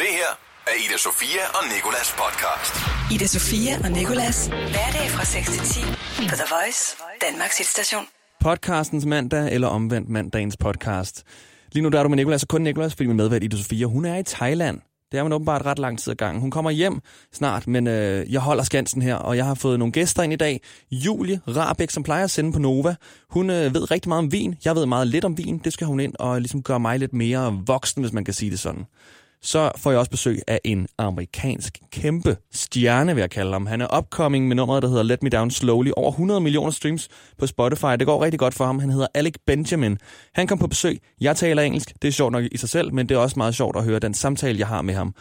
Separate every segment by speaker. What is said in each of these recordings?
Speaker 1: af Ida Sofia og Nikolas podcast.
Speaker 2: Ida Sofia og Nikolas. Hverdag fra 6 til 10 på The Voice, Danmarks hitstation.
Speaker 3: podcastens mandag, eller omvendt mandagens podcast. Lige nu der er du med Nicolas, og kun Nicolas, fordi min medvært Ida Sofia, hun er i Thailand. Det er man åbenbart ret lang tid ad gangen. Hun kommer hjem snart, men øh, jeg holder skansen her, og jeg har fået nogle gæster ind i dag. Julie Rabeck, som plejer at sende på Nova. Hun øh, ved rigtig meget om vin. Jeg ved meget lidt om vin. Det skal hun ind og ligesom gøre mig lidt mere voksen, hvis man kan sige det sådan. Så får jeg også besøg af en amerikansk kæmpe stjerne, vil jeg kalde ham. Han er upcoming med nummeret, der hedder Let Me Down Slowly. Over 100 millioner streams på Spotify. Det går rigtig godt for ham. Han hedder Alec Benjamin. Han kom på besøg. Jeg taler engelsk. Det er sjovt nok i sig selv, men det er også meget sjovt at høre den samtale, jeg har med ham.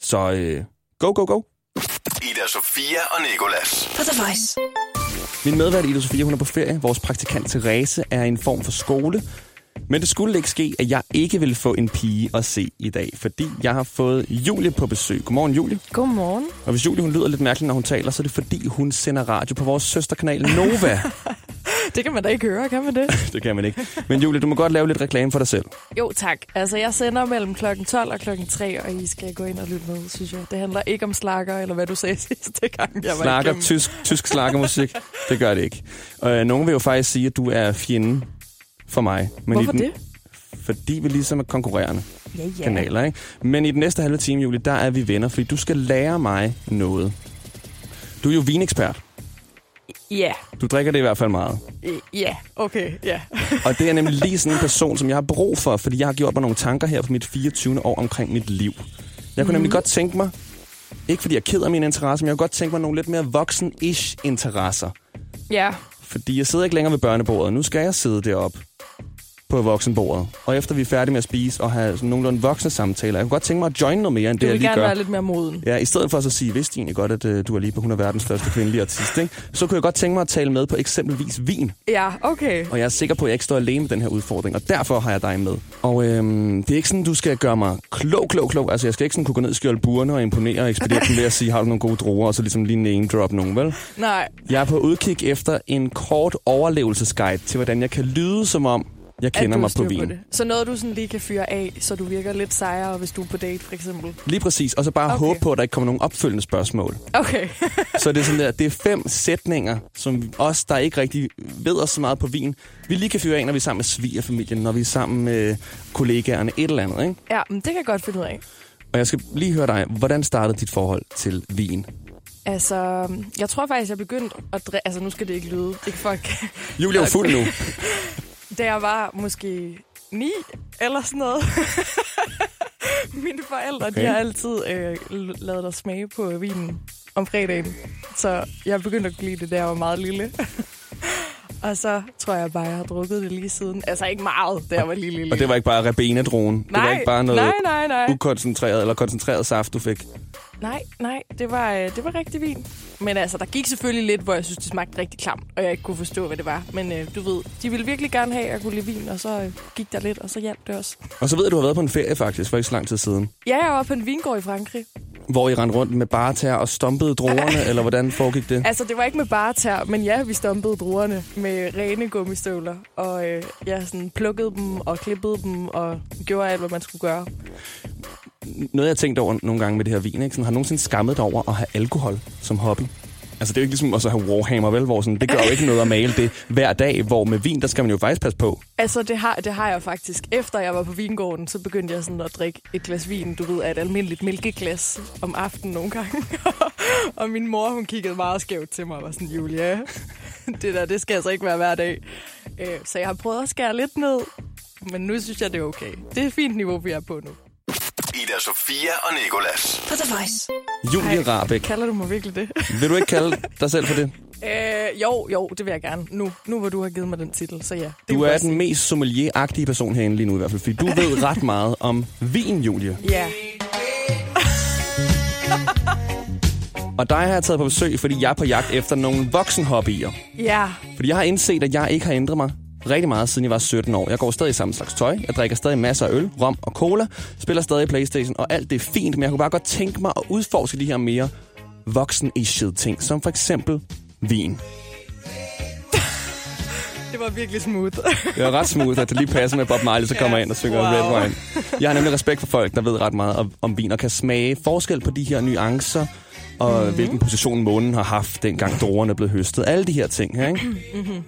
Speaker 3: Så øh, go, go, go.
Speaker 1: Ida Sofia og Nikolas.
Speaker 2: På The Voice.
Speaker 3: Min medvært Ida Sofia, hun er på ferie. Vores praktikant Therese er i en form for skole. Men det skulle ikke ske, at jeg ikke ville få en pige at se i dag, fordi jeg har fået Julie på besøg. Godmorgen, Julie.
Speaker 4: Godmorgen.
Speaker 3: Og hvis Julie hun lyder lidt mærkelig, når hun taler, så er det fordi, hun sender radio på vores søsterkanal Nova.
Speaker 4: Det kan man da ikke høre, kan man det?
Speaker 3: det kan man ikke. Men Julie, du må godt lave lidt reklame for dig selv.
Speaker 4: jo, tak. Altså, jeg sender mellem klokken 12 og klokken 3, og I skal gå ind og lytte med, synes jeg. Det handler ikke om slakker, eller hvad du sagde sidste gang, jeg var
Speaker 3: Slakker,
Speaker 4: igennem.
Speaker 3: tysk, tysk slakkermusik, det gør det ikke. Og øh, nogen vil jo faktisk sige, at du er fjenden for mig. Men
Speaker 4: Hvorfor
Speaker 3: i den,
Speaker 4: det?
Speaker 3: Fordi vi ligesom er konkurrerende
Speaker 4: Ja, ja.
Speaker 3: kanaler, ikke? Men i den næste halve time, Julie, der er vi venner, fordi du skal lære mig noget. Du er jo vinekspert.
Speaker 4: Ja,
Speaker 3: Du drikker det i hvert fald meget.
Speaker 4: Øh, ja, okay, ja.
Speaker 3: Og det er nemlig lige sådan en person, som jeg har brug for, fordi jeg har gjort mig nogle tanker her på mit 24. år omkring mit liv. Jeg
Speaker 4: Mhm.
Speaker 3: kunne nemlig godt tænke mig, ikke fordi jeg keder mine interesser, men jeg kunne godt tænke mig nogle lidt mere voksen-ish interesser.
Speaker 4: Ja,
Speaker 3: Fordi jeg sidder ikke længere ved børnebordet. Nu skal jeg sidde deroppe på voksenbordet. Og efter vi er færdige med at spise og have sådan nogenlunde voksne samtaler, jeg kunne godt tænke mig at join noget mere, end
Speaker 4: du
Speaker 3: det, jeg
Speaker 4: vil
Speaker 3: lige
Speaker 4: gerne
Speaker 3: gør.
Speaker 4: være lidt mere moden.
Speaker 3: Ja, i stedet for at så sige, vidste I egentlig godt, at øh, du er lige på 100 verdens største kvindelige artist, ikke? så kunne jeg godt tænke mig at tale med på eksempelvis vin.
Speaker 4: Ja, okay.
Speaker 3: Og jeg er sikker på, at jeg ikke står alene med den her udfordring, og derfor har jeg dig med. Og øhm, det er ikke sådan, du skal gøre mig klog, klog, klog. Altså, jeg skal ikke sådan kunne gå ned i skjoldburene og imponere ekspedienten ved at sige, har du nogle gode druer, og så ligesom lige name drop nogen, vel?
Speaker 4: Nej,
Speaker 3: Jeg er på udkig efter en kort overlevelsesguide til, hvordan jeg kan lyde som om, jeg
Speaker 4: at
Speaker 3: kender
Speaker 4: du
Speaker 3: mig
Speaker 4: har
Speaker 3: på
Speaker 4: styr
Speaker 3: vin.
Speaker 4: det. Så noget, du sådan lige kan fyre af, så du virker lidt sejere, hvis du er på date, for eksempel.
Speaker 3: Lige præcis, og så bare okay.
Speaker 4: Okay.
Speaker 3: håbe på, at der ikke kommer nogen opfølgende spørgsmål.
Speaker 4: Okay.
Speaker 3: Så det er sådan der, det er fem sætninger, som os, der ikke rigtig ved os så meget på vin, vi lige kan fyre af, når vi er sammen med svigerfamilien, når vi er sammen med kollegaerne, et eller andet, ikke?
Speaker 4: ja, men det kan jeg godt finde ud af.
Speaker 3: Og jeg skal lige høre dig, hvordan startede dit forhold til vin?
Speaker 4: Altså, jeg tror faktisk, jeg begyndte at drikke... Altså, nu skal det ikke lyde. Ikke fuck.
Speaker 3: Julia er jo fuld nu.
Speaker 4: Da jeg var måske ni eller sådan noget. Mine forældre, okay.
Speaker 3: Okay.
Speaker 4: de har altid øh, l- lavet dig smage på vinen om fredagen. Så jeg begyndte at kunne lide det, da jeg var meget lille. og så tror jeg bare, jeg har drukket det lige siden. Altså ikke meget, da jeg var lille. lille.
Speaker 3: Og det var ikke bare Rabena-droen. Det var
Speaker 4: Nej,
Speaker 3: ikke bare noget
Speaker 4: nej, nej, nej.
Speaker 3: ukoncentreret eller koncentreret saft, du fik.
Speaker 4: Nej, nej, det var, øh, det var rigtig vin. Men altså, der gik selvfølgelig lidt, hvor jeg synes, det smagte rigtig klamt, og jeg ikke kunne forstå, hvad det var. Men øh, du ved, de ville virkelig gerne have, at jeg kunne lide vin, og så øh, gik der lidt, og så hjalp det også.
Speaker 3: Og så ved jeg, du har været på en ferie faktisk, for ikke så lang tid siden.
Speaker 4: Ja, jeg var på en vingård i Frankrig.
Speaker 3: Hvor I rendte rundt med barter og stompede druerne, eller hvordan foregik det?
Speaker 4: Altså, det var ikke med bare tær, men ja, vi stompede druerne med rene gummistøvler. Og øh, jeg sådan plukkede dem og klippede dem og gjorde alt, hvad man skulle gøre.
Speaker 3: Noget, jeg har tænkt over nogle gange med det her vin, ikke? Sådan, har du nogensinde skammet dig over at have alkohol som hobby? Altså, det er jo ikke ligesom at så have Warhammer, vel? Hvor sådan, det gør jo ikke noget at male det hver dag, hvor med vin, der skal man jo faktisk passe på.
Speaker 4: Altså, det har, det har jeg faktisk. Efter jeg var på vingården, så begyndte jeg sådan at drikke et glas vin, du ved, af et almindeligt mælkeglas om aftenen nogle gange. og min mor, hun kiggede meget skævt til mig og var sådan, Julia, det der, det skal altså ikke være hver dag. Øh, så jeg har prøvet at skære lidt ned, men nu synes jeg, det er okay. Det er et fint niveau, vi er på nu.
Speaker 1: Ida Sofia og Nikolas.
Speaker 2: På The Voice.
Speaker 3: Julie
Speaker 4: Ej.
Speaker 3: Rabeck,
Speaker 4: Kalder du mig virkelig det?
Speaker 3: vil du ikke kalde dig selv for det?
Speaker 4: øh, jo, jo, det vil jeg gerne. Nu, nu hvor du har givet mig den titel, så ja. Det kan
Speaker 3: Du
Speaker 4: vi
Speaker 3: er
Speaker 4: godt
Speaker 3: den mest sommelieragtige person herinde lige nu i hvert fald, fordi du ved ret meget om vin, Julie.
Speaker 4: sige. Ja.
Speaker 3: Og dig har jeg taget på besøg, fordi jeg er på jagt efter nogle voksenhobbyer.
Speaker 4: Ja.
Speaker 3: Fordi jeg har indset, at jeg ikke har ændret mig rigtig meget, siden jeg var 17 år. Jeg går stadig i samme slags tøj, jeg drikker stadig masser af øl, rom og cola, spiller stadig Playstation, og alt det er fint, men jeg kunne bare godt tænke mig at udforske de her mere voksen ting, som for eksempel vin.
Speaker 4: Det Det var virkelig smooth.
Speaker 3: Det var ret smooth, at det lige passer med Bob Marley, så kommer jeg ind og synger wow. Red
Speaker 4: Wow.
Speaker 3: Wine. Jeg har nemlig respekt for folk, der ved ret meget om, om vin, og kan smage forskel på de her nuancer, og
Speaker 4: Mhm.
Speaker 3: mm-hmm. hvilken position månen har haft, dengang druerne blev høstet. Alle de her ting her, ikke? Mm-hmm.
Speaker 4: Mhm,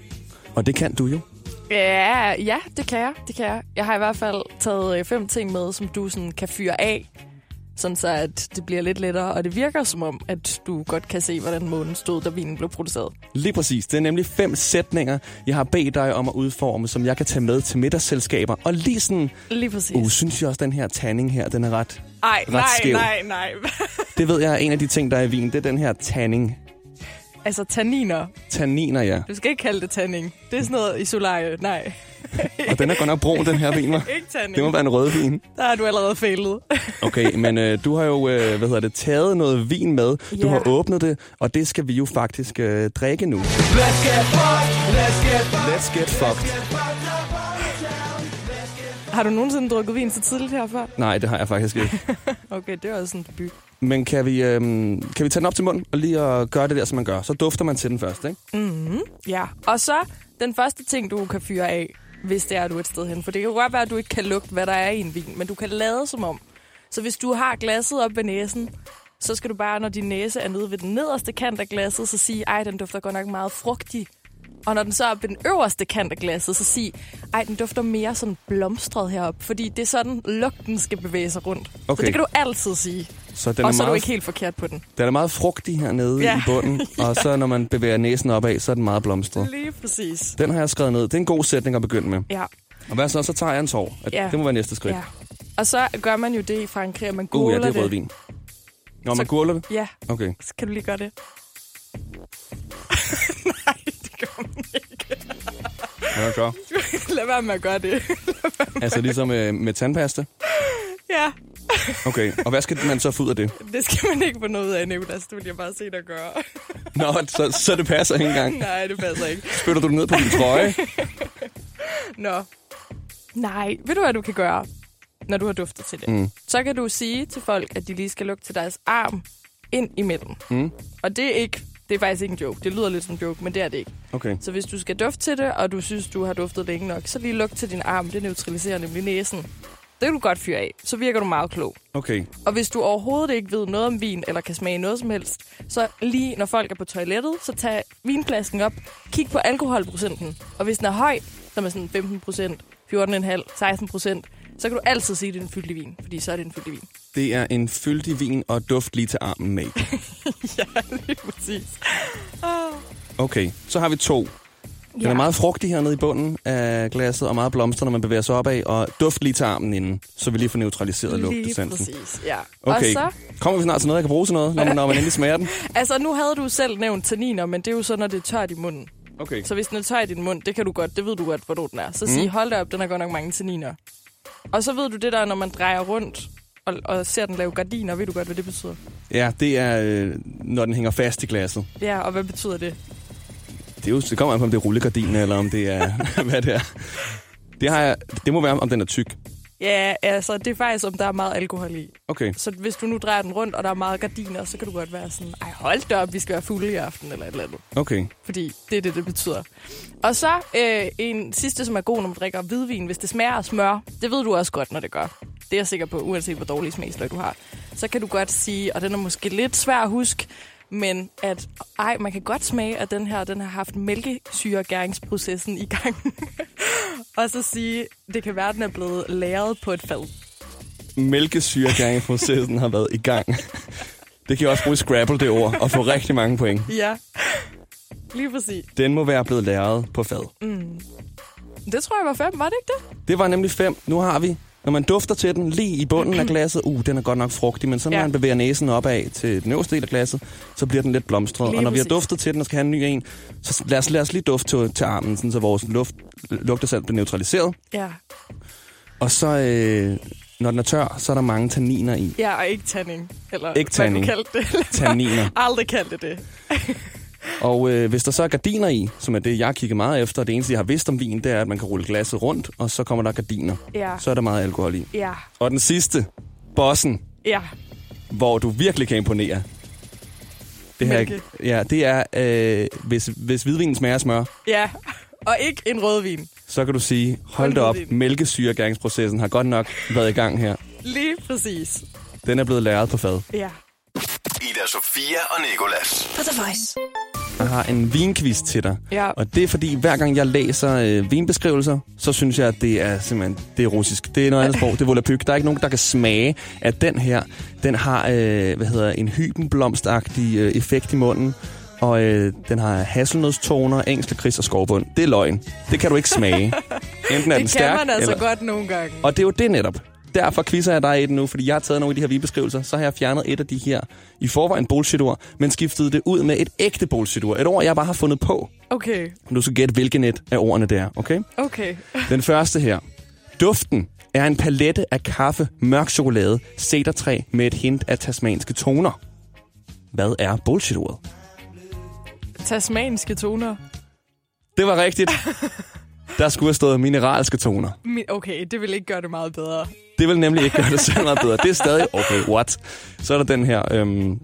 Speaker 3: Og det kan du jo.
Speaker 4: ja, ja, det kan jeg. Det kan jeg. Jeg har i hvert fald taget øh, fem ting med, som du sådan kan fyre af. Sådan så, at det bliver lidt lettere, og det virker som om, at du godt kan se, hvordan månen stod, da vinen blev produceret.
Speaker 3: Lige præcis. Det er nemlig fem sætninger, jeg har bedt dig om at udforme, som jeg kan tage med til middagsselskaber. Og lige sådan,
Speaker 4: Lige præcis.
Speaker 3: uh, synes jeg også, den her tanning her, den er ret...
Speaker 4: Ej,
Speaker 3: ret skæv.
Speaker 4: nej, nej, nej.
Speaker 3: Det ved jeg er en af de ting, der er i vin. Det er den her tanning.
Speaker 4: altså, tanniner.
Speaker 3: Tanniner, ja.
Speaker 4: Du skal ikke kalde det tanning. Det er sådan noget i solarie. Nej,
Speaker 3: Og den er godt nok brun, den her vin, var.
Speaker 4: ikke tanning.
Speaker 3: Det må være en rødvin.
Speaker 4: Der har du allerede fejlet.
Speaker 3: Okay, men øh, du har jo, øh, hvad hedder det, taget noget vin med. Du
Speaker 4: Ja.
Speaker 3: har åbnet det, og det skal vi jo faktisk øh, drikke nu.
Speaker 5: Let's get fucked. Let's get fucked.
Speaker 3: Let's get fucked.
Speaker 4: har du nogensinde drukket vin så tidligt her før?
Speaker 3: Nej, det har jeg faktisk ikke.
Speaker 4: Okay, det var også en debut.
Speaker 3: Men kan vi, øh, kan vi tage den op til munden og lige og gøre det der, som man gør? Så dufter man til den først, ikke?
Speaker 4: Ja, og så den første ting, du kan fyre af, hvis det er, du er et sted hen. For det kan jo godt være, at du ikke kan lugte, hvad der er i en vin, men du kan lade som om. Så hvis du har glasset op ved næsen, så skal du bare, når din næse er nede ved den nederste kant af glasset, så sige, ej, den dufter godt nok meget frugtig. Og når den så er oppe ved den øverste kant af glasset, så sig, ej, den dufter mere sådan blomstret heroppe. Fordi det er sådan, lugten skal bevæge sig rundt.
Speaker 3: Okay.
Speaker 4: Så det kan du altid sige.
Speaker 3: Så den,
Speaker 4: og
Speaker 3: er,
Speaker 4: så er du
Speaker 3: meget,
Speaker 4: ikke helt forkert på den.
Speaker 3: den er meget frugtig hernede
Speaker 4: Ja.
Speaker 3: i bunden, og så når man bevæger næsen opad, så er den meget blomstret.
Speaker 4: Lige præcis.
Speaker 3: Den har jeg skrevet ned. Det er en god sætning at begynde med.
Speaker 4: Ja.
Speaker 3: Og hvad så? Så tager jeg en tår.
Speaker 4: Ja.
Speaker 3: Det må være næste skridt.
Speaker 4: Ja. Og så gør man jo det i Frankrig, at man gurler
Speaker 3: Uh, ja, det er rødvin. Når man
Speaker 4: Så-
Speaker 3: gurler det?
Speaker 4: Ja,
Speaker 3: Okay.
Speaker 4: så kan du lige gøre det. Nej, det gør man ikke.
Speaker 3: Ja, så.
Speaker 4: Lad være med at gøre det.
Speaker 3: Altså ligesom øh, med tandpasta.
Speaker 4: ja,
Speaker 3: Okay, og hvad skal man så få ud af det?
Speaker 4: det skal man ikke få noget af, Nicolas. Det vil jeg bare se dig gøre.
Speaker 3: Nå, så, så det passer ikke engang.
Speaker 4: Nej, det passer ikke.
Speaker 3: Spytter du det ned på din trøje?
Speaker 4: Nå. Nej, ved du, hvad du kan gøre, når du har duftet til det? Mm. Så kan du sige til folk, at de lige skal lukke til deres arm ind imellem. Mm. Og det er ikke... Det er faktisk ikke en joke. Det lyder lidt som en joke, men det er det ikke.
Speaker 3: Okay.
Speaker 4: Så hvis du skal dufte til det, og du synes, du har duftet længe nok, så lige luk til din arm. Det neutraliserer nemlig næsen. Det kan du godt fyre af. Så virker du meget klog.
Speaker 3: Okay.
Speaker 4: Og hvis du overhovedet ikke ved noget om vin, eller kan smage noget som helst, så lige når folk er på toilettet, så tag vinflasken op, kig på alkoholprocenten. Og hvis den er høj, som er sådan 15 procent, 14,5, 16 procent, så kan du altid sige, at det er en fyldig vin, fordi så er det en fyldig vin.
Speaker 3: Det er en fyldig vin og duft lige til armen med.
Speaker 4: Ja, lige præcis.
Speaker 3: Okay, så har vi to. Den er meget frugtig hernede i bunden af glasset, og meget blomster, når man bevæger sig opad, og duft lige til armen inden, så vi lige får neutraliseret
Speaker 4: lige
Speaker 3: lugtesansen.
Speaker 4: præcis, ja. Og
Speaker 3: Okay,
Speaker 4: så
Speaker 3: kommer vi snart til noget, jeg kan bruge til noget, når man, når man endelig smager den?
Speaker 4: Altså, nu havde du selv nævnt tanniner, men det er jo så, når det er tørt i munden.
Speaker 3: Okay,
Speaker 4: Så hvis den er tør i din mund, det kan du godt, det ved du godt, hvornår den er. Så sig, hold da op, den har godt nok mange tanniner. Og så ved du det der, når man drejer rundt og, og ser den lave gardiner, ved du godt, hvad det betyder.
Speaker 3: ja, det er, øh, når den hænger fast i glasset.
Speaker 4: Ja, og hvad betyder det?
Speaker 3: Det, er jo, det kommer an på, om det er rullegardinen, eller om det er, hvad det er. Det, har jeg, det må være, om den er tyk.
Speaker 4: Ja, altså, det er faktisk, om der er meget alkohol i.
Speaker 3: Okay.
Speaker 4: Så hvis du nu drejer den rundt, og der er meget gardiner, så kan du godt være sådan, ej, hold da op, vi skal være fulde i aften, eller et eller andet.
Speaker 3: Okay.
Speaker 4: Fordi det er det, det betyder. Og så øh, en sidste, som er god, når man drikker hvidvin. Hvis det smager af smør, det ved du også godt, når det gør. Det er jeg sikker på, uanset hvor dårlige smagsløg du har. Så kan du godt sige, og den er måske lidt svær at huske, men at ej, man kan godt smage, at den her den har haft mælkesyregæringsprocessen i gang. og så sige, det kan være, at den er blevet læret på et fad.
Speaker 3: Mælkesyregæringsprocessen har været i gang. Det kan jeg også bruge i Scrabble, det ord, og få rigtig mange point.
Speaker 4: Ja, lige præcis.
Speaker 3: Den må være blevet læret på fad. Mm.
Speaker 4: Det tror jeg var fem, var det ikke det?
Speaker 3: Det var nemlig fem. Nu har vi, når man dufter til den lige i bunden af glasset, uh, den er godt nok frugtig, men så når
Speaker 4: Ja.
Speaker 3: man bevæger næsen opad til den øverste del af glasset, så bliver den lidt blomstret.
Speaker 4: Lige
Speaker 3: og når vi har
Speaker 4: præcis.
Speaker 3: duftet til den og skal have en ny en, så lad os, lad os lige dufte til, til armen, sådan, så vores luft, lugtesand bliver neutraliseret.
Speaker 4: Ja,
Speaker 3: Og så, øh, når den er tør, så er der mange tanniner i.
Speaker 4: ja og ikke tanning. Eller
Speaker 3: Ikke tanning.
Speaker 4: Hvad du kaldte det.
Speaker 3: Tanniner.
Speaker 4: Aldrig kaldte det det.
Speaker 3: Og øh, hvis der så er gardiner i, som er det, jeg kigger meget efter, og det eneste, jeg har vidst om vin, det er, at man kan rulle glasset rundt, og så kommer der gardiner.
Speaker 4: Ja.
Speaker 3: Så er der meget alkohol i.
Speaker 4: Ja,
Speaker 3: Og den sidste, bossen,
Speaker 4: ja.
Speaker 3: hvor du virkelig kan imponere. Det her,
Speaker 4: Mælke.
Speaker 3: ja, det er, øh, hvis, hvis hvidvinen smager af smør,
Speaker 4: Ja, og ikke en rødvin.
Speaker 3: så kan du sige, hold da op, mælkesyregæringsprocessen har godt nok været i gang her.
Speaker 4: Lige præcis.
Speaker 3: Den er blevet læret på fad.
Speaker 4: Ja.
Speaker 1: Ida Sofia og Nikolas.
Speaker 2: På The Voice.
Speaker 3: Jeg har en vinquiz til dig.
Speaker 4: Ja.
Speaker 3: Og det er fordi, hver gang jeg læser øh, vinbeskrivelser, så synes jeg, at det er simpelthen det er russisk. Det er noget andet sprog. Det er volapyk. Der er ikke nogen, der kan smage, at den her, den har øh, hvad hedder, en hybenblomstagtig øh, effekt i munden. Og øh, den har hasselnødstoner, engslekris og skovbund. Det er løgn. Det kan du ikke smage. Enten er den
Speaker 4: Det
Speaker 3: stærk,
Speaker 4: kan man altså
Speaker 3: eller...
Speaker 4: eller... godt nogle gange.
Speaker 3: Og det er jo det netop. Derfor quizzer jeg dig i den nu, fordi jeg har taget nogle af de her vinbeskrivelser. Så har jeg fjernet et af de her i forvejen bullshit men skiftet det ud med et ægte bullshit Et ord, jeg bare har fundet på.
Speaker 4: Okay,
Speaker 3: Du skal gætte, hvilken et af ordene det er, okay?
Speaker 4: okay.
Speaker 3: Den første her. Duften er en palette af kaffe, mørk chokolade, cedartræ med et hint af tasmanske toner. Hvad er bullshit -ordet?
Speaker 4: Tasmanske toner.
Speaker 3: Det var rigtigt. Der skulle have stået mineralske toner.
Speaker 4: Min, okay, det vil ikke gøre det meget bedre.
Speaker 3: Det vil nemlig ikke gøre det så meget bedre. Det er stadig, okay, what? Så er der den her. Øhm,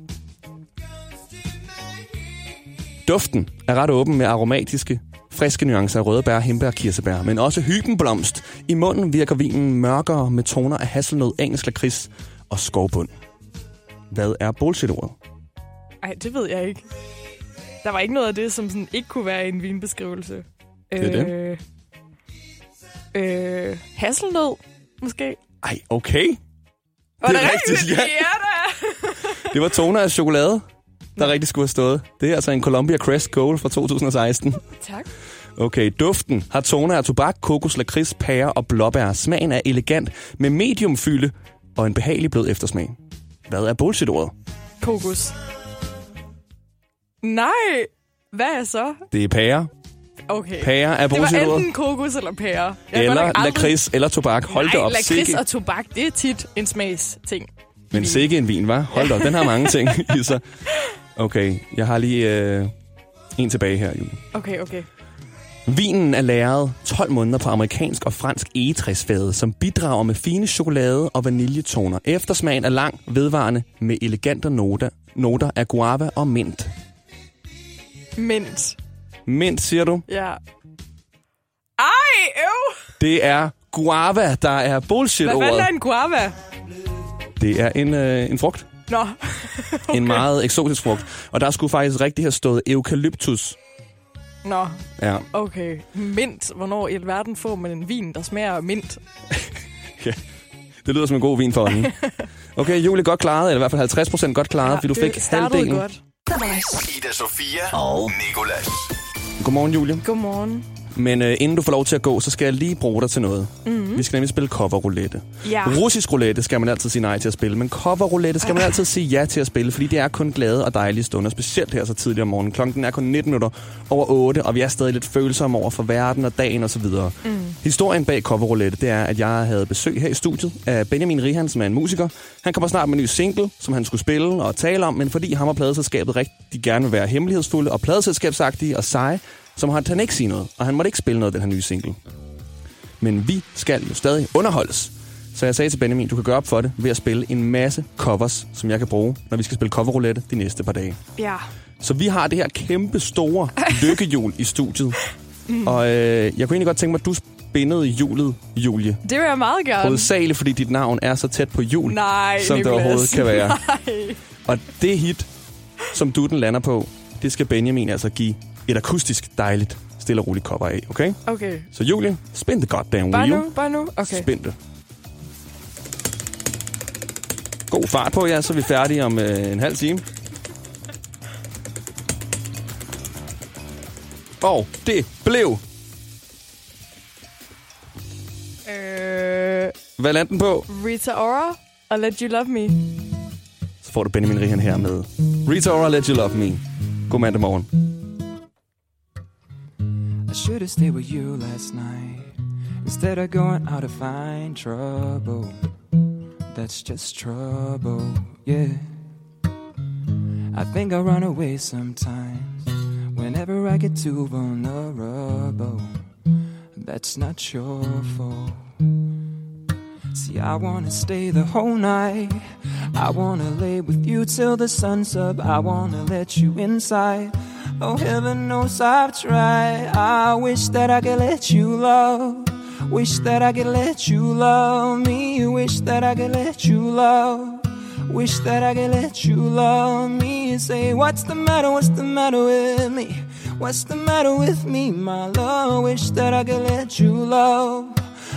Speaker 3: duften er ret åben med aromatiske, friske nuancer af røde bær, hindbær og kirsebær, men også hyggenblomst. I munden virker vinen mørkere med toner af hasselnød, engelsk lakrids og skovbund. Hvad er bullshit-ordet?
Speaker 4: Ej, det ved jeg ikke. Der var ikke noget af det, som sådan ikke kunne være i en vinbeskrivelse.
Speaker 3: Det er det.
Speaker 4: øh, Øh, hasselnød, måske.
Speaker 3: Ej, okay.
Speaker 4: Var
Speaker 3: Det er rigtigt, ja.
Speaker 4: Ja, da.
Speaker 3: Det var toner af chokolade, der rigtig skulle have stået. Det er altså en Columbia Crest Gold fra 2016.
Speaker 4: Tak.
Speaker 3: Okay, duften har toner af tobak, kokos, lakrids, pære og blåbær. Smagen er elegant med medium fylde og en behagelig blød eftersmag. Hvad er bullshit-ordet?
Speaker 4: Kokos. Nej, hvad er så?
Speaker 3: Det er pære.
Speaker 4: Okay.
Speaker 3: Pære er
Speaker 4: det var
Speaker 3: bullshit-ordet.
Speaker 4: enten kokos eller pære. Jeg har godt
Speaker 3: Eller
Speaker 4: nok aldrig-
Speaker 3: lakrids eller tobak. Hold da
Speaker 4: Nej,
Speaker 3: op.
Speaker 4: lakrids
Speaker 3: sikke-
Speaker 4: og tobak, det er tit en smagsting.
Speaker 3: Men sikke en vin, var. Hold da op, den har mange ting i sig. Okay, jeg har lige øh, en tilbage her, Julie.
Speaker 4: Okay, okay.
Speaker 3: Vinen er læret 12 måneder på amerikansk og fransk egetræsfade, som bidrager med fine chokolade- og vaniljetoner. Eftersmagen er lang, vedvarende med elegante noter, noter af guava og mint.
Speaker 4: Mint.
Speaker 3: Mint, siger du?
Speaker 4: Ja. Ej, øv!
Speaker 3: Det er guava, der er
Speaker 4: Hvad fanden
Speaker 3: bullshit-ordet.
Speaker 4: er en guava?
Speaker 3: Det er en, øh, en frugt.
Speaker 4: Nå,
Speaker 3: Okay. En meget eksotisk frugt. Og der skulle faktisk rigtig have stået eukalyptus.
Speaker 4: nå,
Speaker 3: Ja,
Speaker 4: okay. Mint. Hvornår i alverden får man en vin, der smager af mint?
Speaker 3: det lyder som en god vin for ånden. Okay, Julie, godt klaret, eller i hvert fald 50 procent godt klaret, ja, fordi du
Speaker 4: det
Speaker 3: fik
Speaker 4: startede
Speaker 3: halvdelen.
Speaker 4: godt.
Speaker 2: The Voice.
Speaker 1: Ida Sofia og Nikolas.
Speaker 3: Godmorgen, Julie.
Speaker 4: Godmorgen.
Speaker 3: Men øh, inden du får lov til at gå, så skal jeg lige bruge dig til noget. Mm-hmm. Vi skal nemlig spille coverroulette.
Speaker 4: Ja.
Speaker 3: Russisk roulette skal man altid sige nej til at spille, men coverroulette skal man altid sige ja til at spille, fordi det er kun glade og dejlige stunder, specielt her så tidligt om morgenen. Klokken er kun 19 minutter over 8, og vi er stadig lidt følsomme over for verden og dagen osv. Mm. Historien bag coverroulette, det er, at jeg havde besøg her i studiet af Benjamin Rihan, som er en musiker. Han kommer snart med en ny single, som han skulle spille og tale om, men fordi ham og pladeselskabet rigtig gerne vil være hemmelighedsfulde og pladeselskabsagtige og seje, så måtte han ikke sige noget, og han måtte ikke spille noget af den her nye single. Men vi skal jo stadig underholdes. Så jeg sagde til Benjamin, du kan gøre op for det ved at spille en masse covers, som jeg kan bruge, når vi skal spille coverroulette de næste par dage.
Speaker 4: Ja.
Speaker 3: Så vi har det her kæmpe store lykkehjul i studiet.
Speaker 4: Mm.
Speaker 3: Og øh, jeg kunne egentlig godt tænke mig, at du spændede hjulet, Julie.
Speaker 4: Det vil jeg meget gerne.
Speaker 3: Hovedsageligt, fordi dit navn er så tæt på jul,
Speaker 4: Nej,
Speaker 3: som det
Speaker 4: Nicolas.
Speaker 3: overhovedet kan være.
Speaker 4: Nej.
Speaker 3: Og det hit, som du den lander på, det skal Benjamin altså give et akustisk dejligt, stille og roligt cover af, okay?
Speaker 4: Okay.
Speaker 3: Så Julie, spænd det godt, damn
Speaker 4: Bare
Speaker 3: wheel.
Speaker 4: nu, bare nu. Okay.
Speaker 3: Okay. Spændte. God fart på jer, så er vi færdige om øh, en halv time. Og det blev...
Speaker 4: Øh,
Speaker 3: Hvad landte den på?
Speaker 4: Rita Ora og Let You Love Me.
Speaker 3: Så får du Benjamin Rihan her med Rita Ora, Let You Love Me. God mandag morgen.
Speaker 6: I should have stayed with you last night instead of going out to find trouble. That's just trouble, yeah. I think I run away sometimes whenever I get too vulnerable. That's not your fault. See, I wanna stay the whole night. I wanna lay with you till the sun's up. I wanna let you inside. Oh, heaven knows I've tried. I wish that I could let you love. Wish that I could let you love me. Wish that I could let you love. Wish that I could let you love me. Say, what's the matter? What's the matter with me? What's the matter with me, my love? Wish that I could let you love.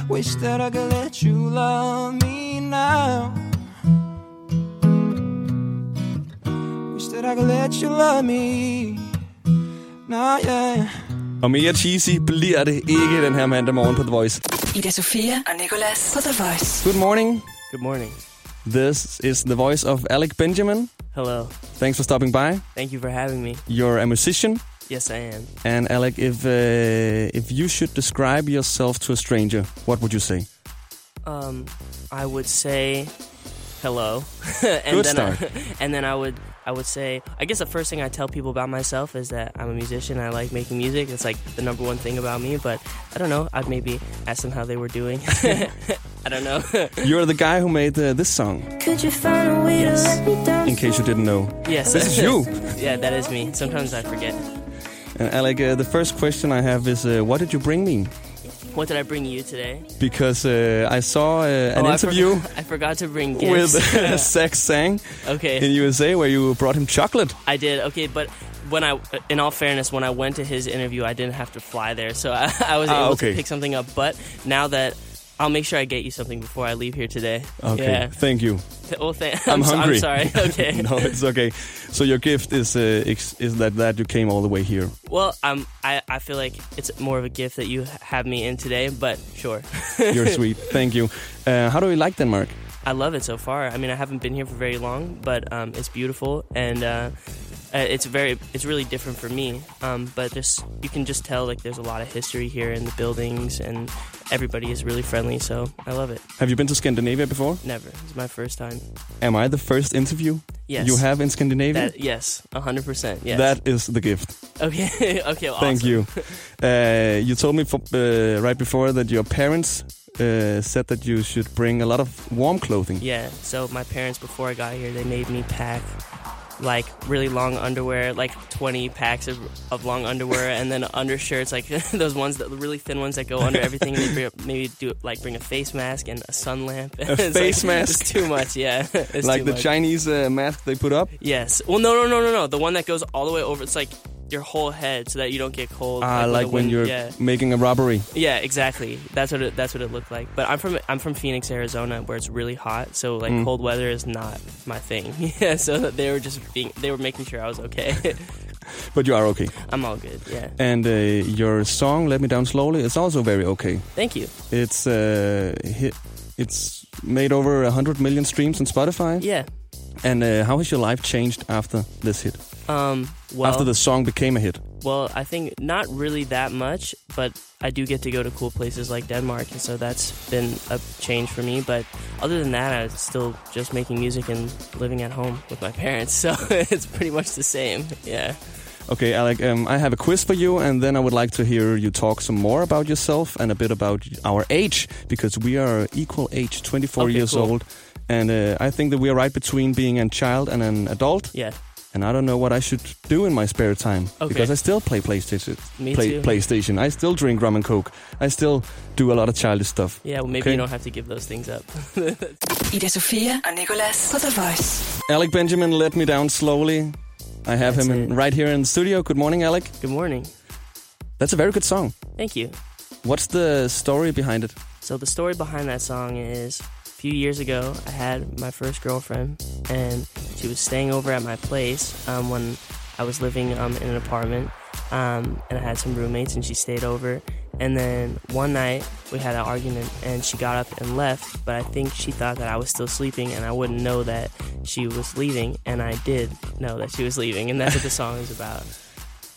Speaker 6: Wish that I could let you love me now. Wish that I could let you love me now, yeah.
Speaker 3: Og mere cheesy bliver det ikke den her mandag morgen på The Voice.
Speaker 2: Ida Sofia og Nicolas på The Voice.
Speaker 3: Good morning.
Speaker 7: Good morning.
Speaker 3: This is the voice of Alec Benjamin.
Speaker 7: Hello.
Speaker 3: Thanks for stopping by.
Speaker 7: Thank you for having me.
Speaker 3: You're a musician.
Speaker 7: Yes, I am.
Speaker 3: And Alec, if uh, if you should describe yourself to a stranger, what would you say?
Speaker 7: Um, I would say hello. and
Speaker 3: Good
Speaker 7: then
Speaker 3: start.
Speaker 7: I, and then I would I would say I guess the first thing I tell people about myself is that I'm a musician. I like making music. It's like the number one thing about me. But I don't know. I'd maybe ask them how they were doing. I don't know.
Speaker 3: You're the guy who made uh, this song.
Speaker 8: Could you find a way
Speaker 7: Yes.
Speaker 8: to let me down?
Speaker 3: In case you didn't know,
Speaker 7: yes,
Speaker 3: this is you.
Speaker 7: yeah, that is me. Sometimes I forget.
Speaker 3: And Alec, uh, the first question I have is, uh, what did you bring me?
Speaker 7: What did I bring you today?
Speaker 3: Because uh, I saw uh, an
Speaker 7: Oh, I forgot-
Speaker 3: interview
Speaker 7: I, forgot to bring
Speaker 3: with
Speaker 7: gifts.
Speaker 3: Zach Sang
Speaker 7: okay.
Speaker 3: in USA where you brought him chocolate.
Speaker 7: I did. Okay, but when I, in all fairness, when I went to his interview, I didn't have to fly there, so I, I was
Speaker 3: Ah,
Speaker 7: able
Speaker 3: okay.
Speaker 7: to pick something up. But now that I'll make sure I get you something before I leave here today.
Speaker 3: Okay,
Speaker 7: Yeah.
Speaker 3: thank you.
Speaker 7: Th- Well, thank.
Speaker 3: I'm
Speaker 7: so-
Speaker 3: hungry.
Speaker 7: I'm sorry. Okay.
Speaker 3: no, it's okay. So your gift is uh, ex- is that that you came all the way here.
Speaker 7: Well, I'm. I, I feel like it's more of a gift that you h- have me in today, but sure.
Speaker 3: You're sweet. Thank you. Uh, how do you like Denmark?
Speaker 7: I love it so far. I mean, I haven't been here for very long, but um, it's beautiful and uh, uh, it's very, it's really different for me. Um, but there's, you can just tell like there's a lot of history here in the buildings, and everybody is really friendly. So I love it.
Speaker 3: Have you been to Scandinavia before?
Speaker 7: Never, it's my first time.
Speaker 3: Am I the first interview
Speaker 7: Yes,
Speaker 3: you have in Scandinavia?
Speaker 7: that. Yes, hundred percent. Yes.
Speaker 3: That is the gift.
Speaker 7: Okay. okay. Well,
Speaker 3: Thank
Speaker 7: awesome.
Speaker 3: you. Uh, you told me for, uh, right before that your parents uh, said that you should bring a lot of warm clothing.
Speaker 7: Yeah. So my parents, before I got here, they made me pack like really long underwear, like 20 packs of, of long underwear, and then undershirts, like those ones that the really thin ones that go under everything. and they bring, maybe do like bring a face mask and a sun lamp. A
Speaker 3: face mask?
Speaker 7: It's too much. Yeah. It's
Speaker 3: like
Speaker 7: too
Speaker 3: the
Speaker 7: much.
Speaker 3: Chinese uh, mask they put up.
Speaker 7: Yes. Well, no, no, no, no, no. The one that goes all the way over. It's like your whole head, so that you don't get cold.
Speaker 3: Ah,
Speaker 7: the
Speaker 3: like when
Speaker 7: wind-
Speaker 3: you're
Speaker 7: Yeah.
Speaker 3: making a robbery.
Speaker 7: Yeah, exactly. That's what it, that's what it looked like. But I'm from I'm from Phoenix, Arizona, where it's really hot. So like
Speaker 3: Mm.
Speaker 7: cold weather is not my thing. Yeah, so they were just being they were making sure I was okay.
Speaker 3: But you are okay.
Speaker 7: I'm all good. Yeah.
Speaker 3: And uh, your song "Let Me Down Slowly" is also very okay.
Speaker 7: Thank you.
Speaker 3: It's uh, hit, it's made over hundred million streams on Spotify.
Speaker 7: Yeah.
Speaker 3: And uh, how has your life changed after this hit?
Speaker 7: Um. Well.
Speaker 3: after the song became a hit.
Speaker 7: Well, I think not really that much, but I do get to go to cool places like Denmark, and so that's been a change for me. But other than that, I'm still just making music and living at home with my parents, so it's pretty much the same. Yeah.
Speaker 3: Okay, Alec, um, I have a quiz for you, and then I would like to hear you talk some more about yourself and a bit about our age, because we are equal age, 24
Speaker 7: Okay,
Speaker 3: years
Speaker 7: cool.
Speaker 3: old. And uh, I think that we are right between being a child and an adult.
Speaker 7: Yeah.
Speaker 3: And I don't know what I should do in my spare time
Speaker 7: Okay.
Speaker 3: because I still play PlayStation.
Speaker 7: Me
Speaker 3: play,
Speaker 7: too.
Speaker 3: PlayStation. I still drink rum and coke. I still do a lot of childish stuff.
Speaker 7: Yeah. Well, maybe
Speaker 3: Okay.
Speaker 7: you don't have to give those things up.
Speaker 2: Ida Sofia og Nicolas på The Voice.
Speaker 3: Alec Benjamin let me down slowly. I have
Speaker 7: That's
Speaker 3: him in,
Speaker 7: it.
Speaker 3: right here in the studio. Good morning, Alec.
Speaker 7: Good morning.
Speaker 3: That's a very good song.
Speaker 7: Thank you.
Speaker 3: What's the story behind it?
Speaker 7: So the story behind that song is a few years ago I had my first girlfriend and she was staying over at my place um, when I was living um, in an apartment um, and I had some roommates and she stayed over and then one night we had an argument and she got up and left but I think she thought that I was still sleeping and I wouldn't know that she was leaving and I did know that she was leaving and that's what the song is about.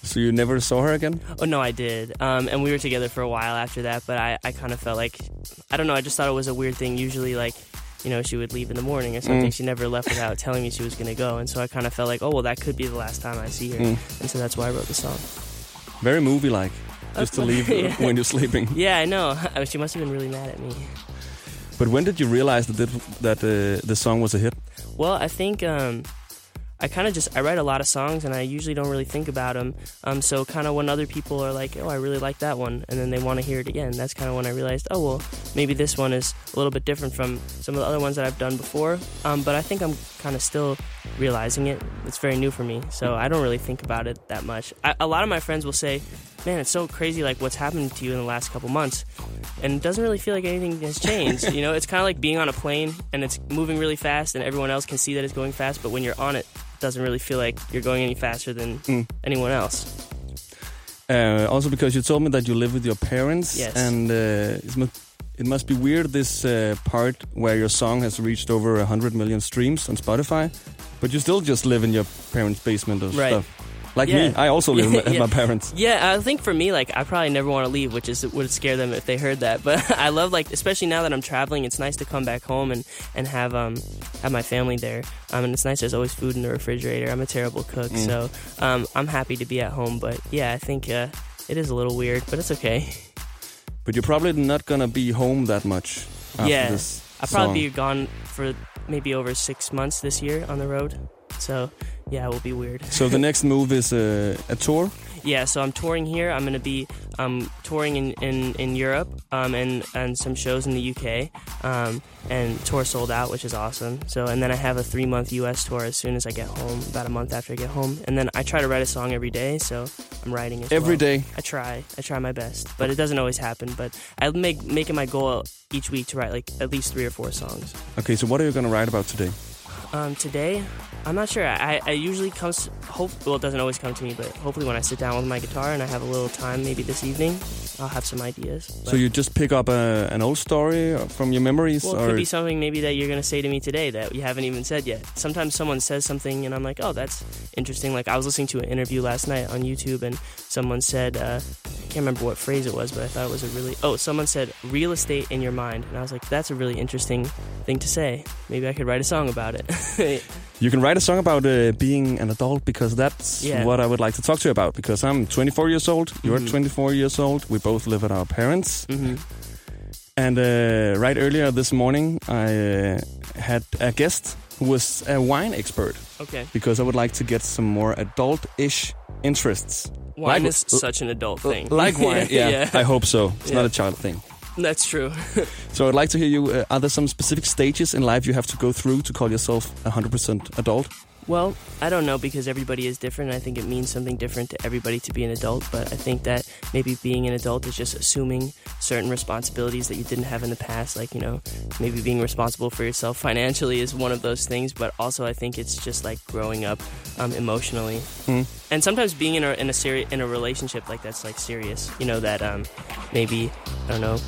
Speaker 3: So you never saw her again?
Speaker 7: Oh no, I did. Um, and we were together for a while after that, but I, I kind of felt like I don't know. I just thought it was a weird thing. Usually, like you know, she would leave in the morning or something. She never left without telling me she was gonna go, and so I kind of felt like, oh well, that could be the last time I see her,
Speaker 3: Mm.
Speaker 7: and so that's why I wrote the song.
Speaker 3: Very movie-like. Just to leave
Speaker 7: Yeah.
Speaker 3: when you're sleeping.
Speaker 7: Yeah, I know. she must have been really mad at me.
Speaker 3: But when did you realize that that, that uh, the song was a hit?
Speaker 7: Well, I think um, I kind of just I write a lot of songs and I usually don't really think about them. Um, so kind of when other people are like, oh, I really like that one, and then they want to hear it again. That's kind of when I realized, oh well, maybe this one is a little bit different from some of the other ones that I've done before. Um, but I think I'm kind of still realizing it. It's very new for me, so I don't really think about it that much. I, a lot of my friends will say, man, it's so crazy like what's happened to you in the last couple months. And it doesn't really feel like anything has changed. you know, it's kind of like being on a plane and it's moving really fast and everyone else can see that it's going fast, but when you're on it, it doesn't really feel like you're going any faster than anyone else.
Speaker 3: Uh, also, because you told me that you live with your parents,
Speaker 7: Yes.
Speaker 3: and uh, it, must, it must be weird this uh, part where your song has reached over 100 million streams on Spotify, but you still just live in your parents' basement or
Speaker 7: Right.
Speaker 3: stuff. Like me,
Speaker 7: Yeah.
Speaker 3: I also live with
Speaker 7: Yeah.
Speaker 3: my parents.
Speaker 7: Yeah, I think for me, like, I probably never want to leave, which is would scare them if they heard that. But I love, like, especially now that I'm traveling, it's nice to come back home and, and have um have my family there. Um, and it's nice there's always food in the refrigerator. I'm a terrible cook, so um, I'm happy to be at home. But yeah, I think uh, it is a little weird, but it's okay.
Speaker 3: But you're probably not gonna be home that much. After
Speaker 7: yeah,
Speaker 3: this
Speaker 7: I'll probably be
Speaker 3: song.
Speaker 7: gone for maybe over six months this year on the road. So yeah, it will be weird.
Speaker 3: So the next move is uh, a tour.
Speaker 7: Yeah, so I'm touring here. I'm going to be um, touring in, in, in Europe um, and, and some shows in the UK. Um, and tour sold out, which is awesome. So, and then I have a three month US tour as soon as I get home, about a month after I get home. And then I try to write a song every day, so I'm writing it
Speaker 3: Every
Speaker 7: every day.
Speaker 3: day?
Speaker 7: I try. I try my best, but it doesn't always happen. But I make make it my goal each week to write like at least three or four songs.
Speaker 3: Okay, so what are you gonna write about today?
Speaker 7: Um, today, I'm not sure. I, I usually comes hope well, it doesn't always come to me, but hopefully when I sit down with my guitar and I have a little time, maybe this evening, I'll have some ideas.
Speaker 3: So you just pick up a, an old story from your memories,
Speaker 7: well, it
Speaker 3: or
Speaker 7: could be something maybe that you're gonna say to me today that you haven't even said yet. Sometimes someone says something and I'm like, oh, that's interesting. Like I was listening to an interview last night on YouTube and someone said, uh, I can't remember what phrase it was, but I thought it was a really oh, someone said real estate in your mind, and I was like, that's a really interesting thing to say. Maybe I could write a song about it.
Speaker 3: You can write a song about uh, being an adult because that's
Speaker 7: Yeah.
Speaker 3: what I would like to talk to you about. Because I'm 24 years old, you're
Speaker 7: Mhm.
Speaker 3: 24 years old, we both live with our parents.
Speaker 7: hmm
Speaker 3: And uh, right earlier this morning, I uh, had a guest who was a wine expert
Speaker 7: Okay.
Speaker 3: because I would like to get some more adult ish interests.
Speaker 7: Wine
Speaker 3: Like-
Speaker 7: is such an adult thing.
Speaker 3: Like wine, yeah. I hope so. It's not
Speaker 7: Yeah.
Speaker 3: a child thing.
Speaker 7: That's true.
Speaker 3: So I'd like to hear you. Uh, are there some specific stages in life you have to go through to call yourself 100% adult?
Speaker 7: Well, I don't know because everybody is different. and I think it means something different to everybody to be an adult, but I think that maybe being an adult is just assuming certain responsibilities that you didn't have in the past. Like, you know, maybe being responsible for yourself financially is one of those things, but also I think it's just like growing up um, emotionally. And sometimes being in a, in a, seri- in a relationship like that's like serious, you know, that um, maybe, I don't know,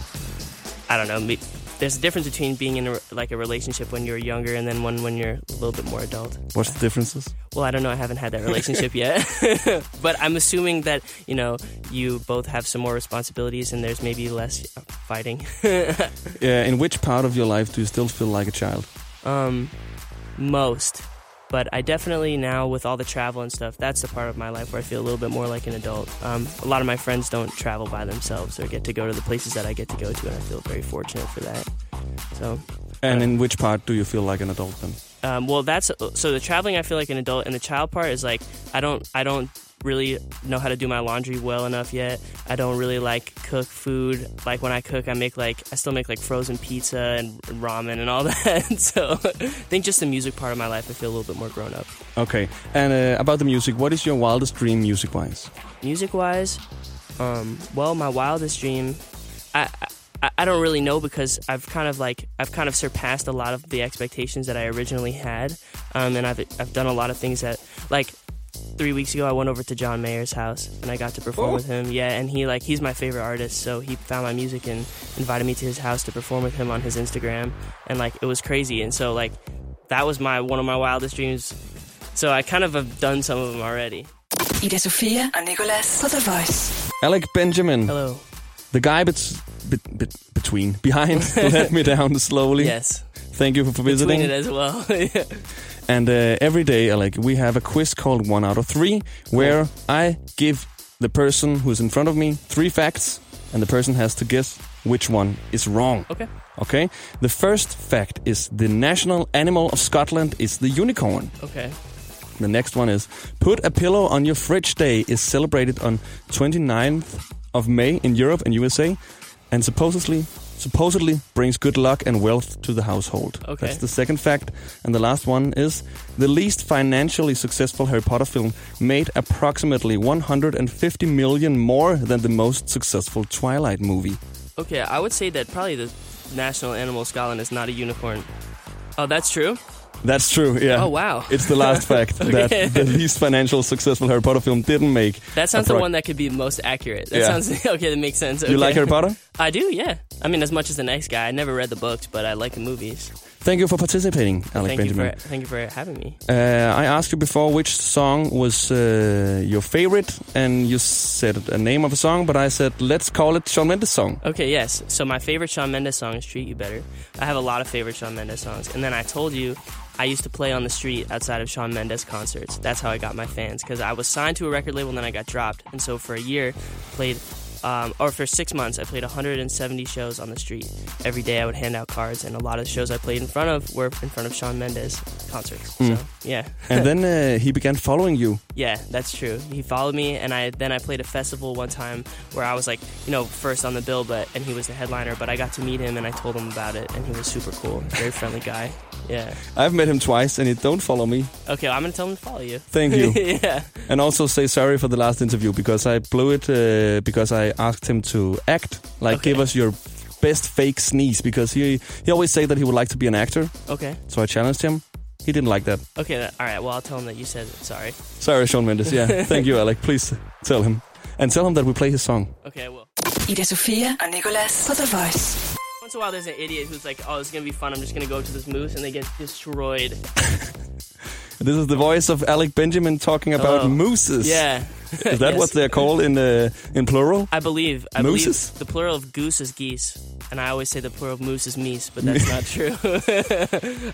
Speaker 7: I don't know. Me- there's a difference between being in a, re- like a relationship when you're younger and then one when you're a little bit more adult.
Speaker 3: What's the differences?
Speaker 7: Well, I don't know. I haven't had that relationship yet, but I'm assuming that you know you both have some more responsibilities and there's maybe less uh, fighting.
Speaker 3: Yeah, Uh, in which part of your life do you still feel like a child?
Speaker 7: um, most, but I definitely now with all the travel and stuff, that's the part of my life where I feel a little bit more like an adult. Um, a lot of my friends don't travel by themselves or get to go to the places that I get to go to, and I feel very fortunate for that. So
Speaker 3: And in which part do you feel like an adult then?
Speaker 7: Um, well, that's so the traveling. I feel like an adult, and the child part is like I don't I don't really know how to do my laundry well enough yet. I don't really like cook food. Like when I cook, I make like I still make like frozen pizza and ramen and all that. so I think just the music part of my life, I feel a little bit more grown up.
Speaker 3: Okay, and uh, about the music, what is your wildest dream music wise?
Speaker 7: music wise um well my wildest dream I, I i don't really know because i've kind of like i've kind of surpassed a lot of the expectations that i originally had um and i've i've done a lot of things that like three weeks ago i went over to john mayer's house and i got to perform with him yeah and he like he's my favorite artist so he found my music and invited me to his house to perform with him on his instagram and like it was crazy and so like that was my one of my wildest dreams so i kind of have done some of them already
Speaker 2: Ida Sofia og Nicolas på The Voice.
Speaker 3: Alec Benjamin,
Speaker 7: hello
Speaker 3: the guy bet- bet- bet- between, behind, let me down slowly.
Speaker 7: yes
Speaker 3: Thank you for
Speaker 7: Between
Speaker 3: visiting.
Speaker 7: it as well. Yeah.
Speaker 3: And uh, every day, Alec, we have a quiz called One Out of Three, where I give the person who's in front of me three facts, and the person has to guess which one is wrong.
Speaker 7: Okay.
Speaker 3: Okay. The first fact is the national animal of Scotland is the unicorn.
Speaker 7: Okay.
Speaker 3: The next one is Put a Pillow on Your Fridge Day is celebrated on 29th of May in Europe and USA and supposedly supposedly brings good luck and wealth to the household.
Speaker 7: Okay.
Speaker 3: That's the second fact. And the last one is the least financially successful Harry Potter film made approximately 150 million more than the most successful Twilight movie.
Speaker 7: Okay, I would say that probably the national animal of Scotland is not a unicorn. Oh, that's true.
Speaker 3: That's true, yeah.
Speaker 7: Oh wow,
Speaker 3: It's the last fact
Speaker 7: Okay.
Speaker 3: that the least financial successful Harry Potter film didn't make.
Speaker 7: that sounds
Speaker 3: appro-
Speaker 7: the one that could be most accurate. That
Speaker 3: Yeah.
Speaker 7: sounds okay. That makes sense.
Speaker 3: You
Speaker 7: okay.
Speaker 3: like Harry Potter?
Speaker 7: I do. Yeah. I mean, as much as the next guy, I never read the books, but I like the movies.
Speaker 3: Thank you for participating, Alec
Speaker 7: thank
Speaker 3: Benjamin.
Speaker 7: you for thank you for having me.
Speaker 3: Uh, I asked you before which song was uh, your favorite, and you said a name of a song, but I said let's call it Shawn Mendes song.
Speaker 7: Okay, yes. So my favorite Shawn Mendes song is "Treat You Better." I have a lot of favorite Shawn Mendes songs, and then I told you I used to play on the street outside of Shawn Mendes concerts. That's how I got my fans because I was signed to a record label and then I got dropped, and so for a year, played. Um, or for six months, I played 170 shows on the street. Every day, I would hand out cards, and a lot of the shows I played in front of were in front of Shawn Mendes concerts. So, yeah.
Speaker 3: And then uh, he began following you.
Speaker 7: Yeah, that's true. He followed me, and I then I played a festival one time where I was like, you know, first on the bill, but and he was the headliner. But I got to meet him, and I told him about it, and he was super cool, very friendly guy. Yeah.
Speaker 3: I've met him twice, and he don't follow me.
Speaker 7: Okay, well, I'm gonna tell him to follow you.
Speaker 3: Thank you.
Speaker 7: yeah.
Speaker 3: and also say sorry for the last interview because I blew it uh, because I asked him to act. Like,
Speaker 7: Okay.
Speaker 3: give us your best fake sneeze because he he always say that he would like to be an actor.
Speaker 7: Okay.
Speaker 3: So I challenged him. He didn't like that.
Speaker 7: Okay. Then, all right. Well, I'll tell him that you said it. Sorry.
Speaker 3: Sorry, Shawn Mendes. Yeah, thank you, Alec. Please tell him and tell him that we play his song.
Speaker 7: Okay. Well.
Speaker 2: Ida Sofia og Nicolas på The Voice.
Speaker 7: Once in a while, there's an idiot who's like, "Oh, it's gonna be fun. I'm just gonna go up to this moose," and they get destroyed.
Speaker 3: This is the voice of Alec Benjamin talking about
Speaker 7: Hello.
Speaker 3: mooses.
Speaker 7: Oh. Yeah.
Speaker 3: is that what they're called in uh, in plural?
Speaker 7: I believe. I
Speaker 3: Mooses?
Speaker 7: believe the plural of goose is geese, and I always say the plural of moose is meese, but that's not true.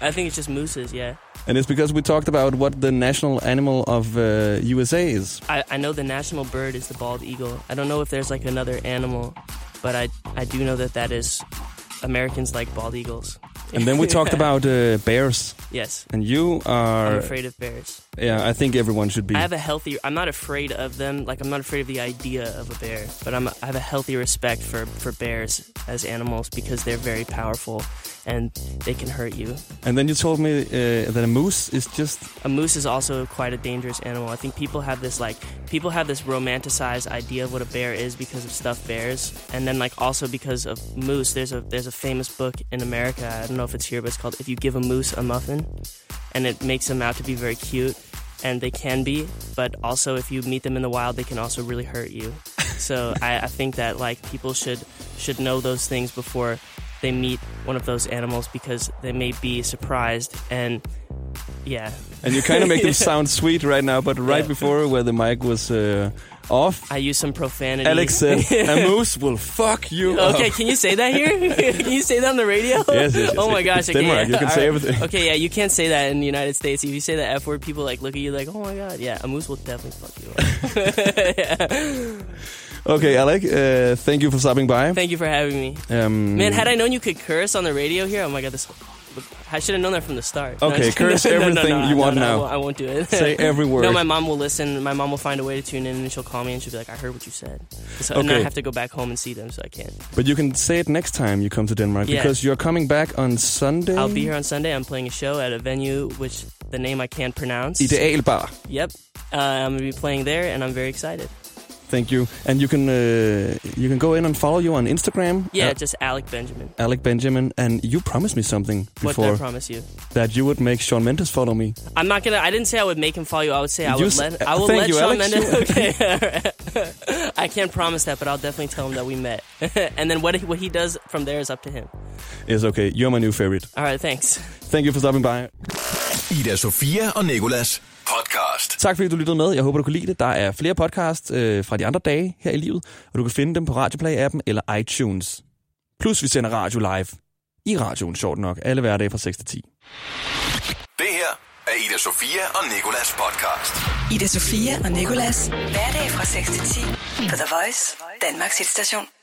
Speaker 7: I think it's just mooses. Yeah,
Speaker 3: And it's because we talked about what the national animal of uh, USA is.
Speaker 7: I, I know the national bird is the bald eagle. I don't know if there's like another animal, but I I do know that that is Americans like bald eagles.
Speaker 3: And then we talked about uh, bears.
Speaker 7: yes.
Speaker 3: And you
Speaker 7: I'm
Speaker 3: are.
Speaker 7: afraid of bears.
Speaker 3: Yeah, I think everyone should be.
Speaker 7: I have a healthy. I'm not afraid of them. Like I'm not afraid of the idea of a bear, but I'm. I have a healthy respect for for bears as animals because they're very powerful, and they can hurt you.
Speaker 3: and then you told me uh, that a moose is just.
Speaker 7: a moose is also quite a dangerous animal. I think people have this like people have this romanticized idea of what a bear is because of stuffed bears, and then like also because of moose. There's a there's a famous book in America. I don't know if it's here, but it's called "If You Give a Moose a Muffin," and it makes them out to be very cute, and they can be, but also if you meet them in the wild, they can also really hurt you. So I, I think that like people should should know those things before they meet one of those animals because they may be surprised and yeah
Speaker 3: And you kind of make them
Speaker 7: Yeah.
Speaker 3: sound sweet right now, but right
Speaker 7: Yeah.
Speaker 3: before where the mic was uh, off,
Speaker 7: I use some profanity.
Speaker 3: Alex said, "A moose will fuck you
Speaker 7: uh, Okay,
Speaker 3: up."
Speaker 7: can you say that here? can you say that on the radio?
Speaker 3: Yes, yes, yes.
Speaker 7: Oh my gosh.
Speaker 3: It's
Speaker 7: Okay,
Speaker 3: Denmark. You
Speaker 7: yeah.
Speaker 3: can
Speaker 7: All
Speaker 3: say everything.
Speaker 7: Okay, yeah, you can't say that in the United States. If you say the F word, people like look at you like, oh my god, yeah, a moose will definitely fuck you up. Yeah.
Speaker 3: Okay, Alec, uh, thank you for stopping by.
Speaker 7: Thank you for having me.
Speaker 3: Um,
Speaker 7: Man, had I known you could curse on the radio here, oh my god, this. I should have known that from the start.
Speaker 3: Okay,
Speaker 7: just-
Speaker 3: curse everything you want
Speaker 7: no, I
Speaker 3: now.
Speaker 7: won't- I won't do it.
Speaker 3: Say every word.
Speaker 7: No, my mom will listen. My mom will find a way to tune in, and she'll call me, and she'll be like, "I heard what you said." So, And then I
Speaker 3: Okay.
Speaker 7: have to go back home and see them, so I can't.
Speaker 3: But you can say it next time you come to Denmark
Speaker 7: Yeah.
Speaker 3: because you're coming back on Sunday.
Speaker 7: I'll be here on Sunday. I'm playing a show at a venue which the name I can't pronounce.
Speaker 3: Idealbar.
Speaker 7: Yep. Uh, I'm gonna be playing there, and I'm very excited.
Speaker 3: Thank you. And you can uh, you can go in and follow you on Instagram.
Speaker 7: Yeah,
Speaker 3: uh,
Speaker 7: just Alec Benjamin.
Speaker 3: Alec Benjamin. And you promised me something
Speaker 7: What did I
Speaker 3: before
Speaker 7: promise you?
Speaker 3: that you would make Sean Mendes follow me.
Speaker 7: I'm not gonna. I didn't say I would make him follow you. I would say I
Speaker 3: You
Speaker 7: would
Speaker 3: s-
Speaker 7: let.
Speaker 3: uh,
Speaker 7: I will
Speaker 3: thank
Speaker 7: let
Speaker 3: you,
Speaker 7: Sean
Speaker 3: Alex.
Speaker 7: Mendes. Okay. alright. I can't promise that, but I'll definitely tell him that we met. and then what he, what he does from there is up to him.
Speaker 3: It's okay. You're my new favorite.
Speaker 7: All right. Thanks.
Speaker 3: Thank you for stopping by.
Speaker 1: Ida Sofia og Nikolas podcast.
Speaker 3: Tak fordi du lyttede med. Jeg håber, du kunne lide det. Der er flere podcasts øh, fra de andre dage her i livet, og du kan finde dem på Radioplay-appen eller iTunes. Plus vi sender radio live. I radioen, sjovt nok. Alle hverdage fra 6 til 10.
Speaker 1: Det her er Ida Sofia og Nikolas podcast.
Speaker 2: Ida Sofia og Nicolas. Hverdag fra 6 til 10 på The Voice, Danmarks hitstation.